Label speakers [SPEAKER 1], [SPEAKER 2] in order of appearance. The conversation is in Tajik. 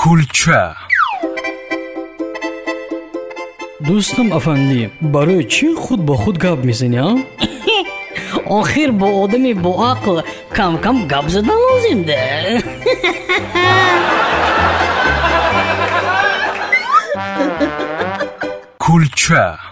[SPEAKER 1] кулча
[SPEAKER 2] дӯстам афандӣ барои чӣ худ бо худ гап мезанӣ а
[SPEAKER 3] охир бо одами боақл кам-кам гап задан лозим да
[SPEAKER 1] кулча